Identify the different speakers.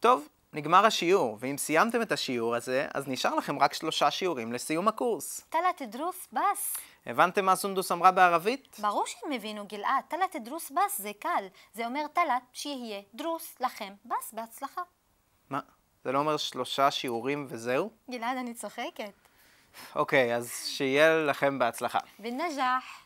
Speaker 1: טוב, נגמר השיעור, ואם סיימתם את השיעור הזה, אז נשאר לכם רק שלושה שיעורים לסיום הקורס.
Speaker 2: ثلاث دروس بس
Speaker 1: הבנתם מה סונדוס אמרה בערבית?
Speaker 2: ברור שהם הבינו גלעד, ثلاث דרוס בס זה קל, זה אומר ثلاث שיהיה דרוס לכם בס בהצלחה.
Speaker 1: מה? זה לא אומר שלושה שיעורים וזהו?
Speaker 2: גלעד אני צוחקת.
Speaker 1: אוקיי, אז שיהיה לכם בהצלחה.
Speaker 2: بالنجاح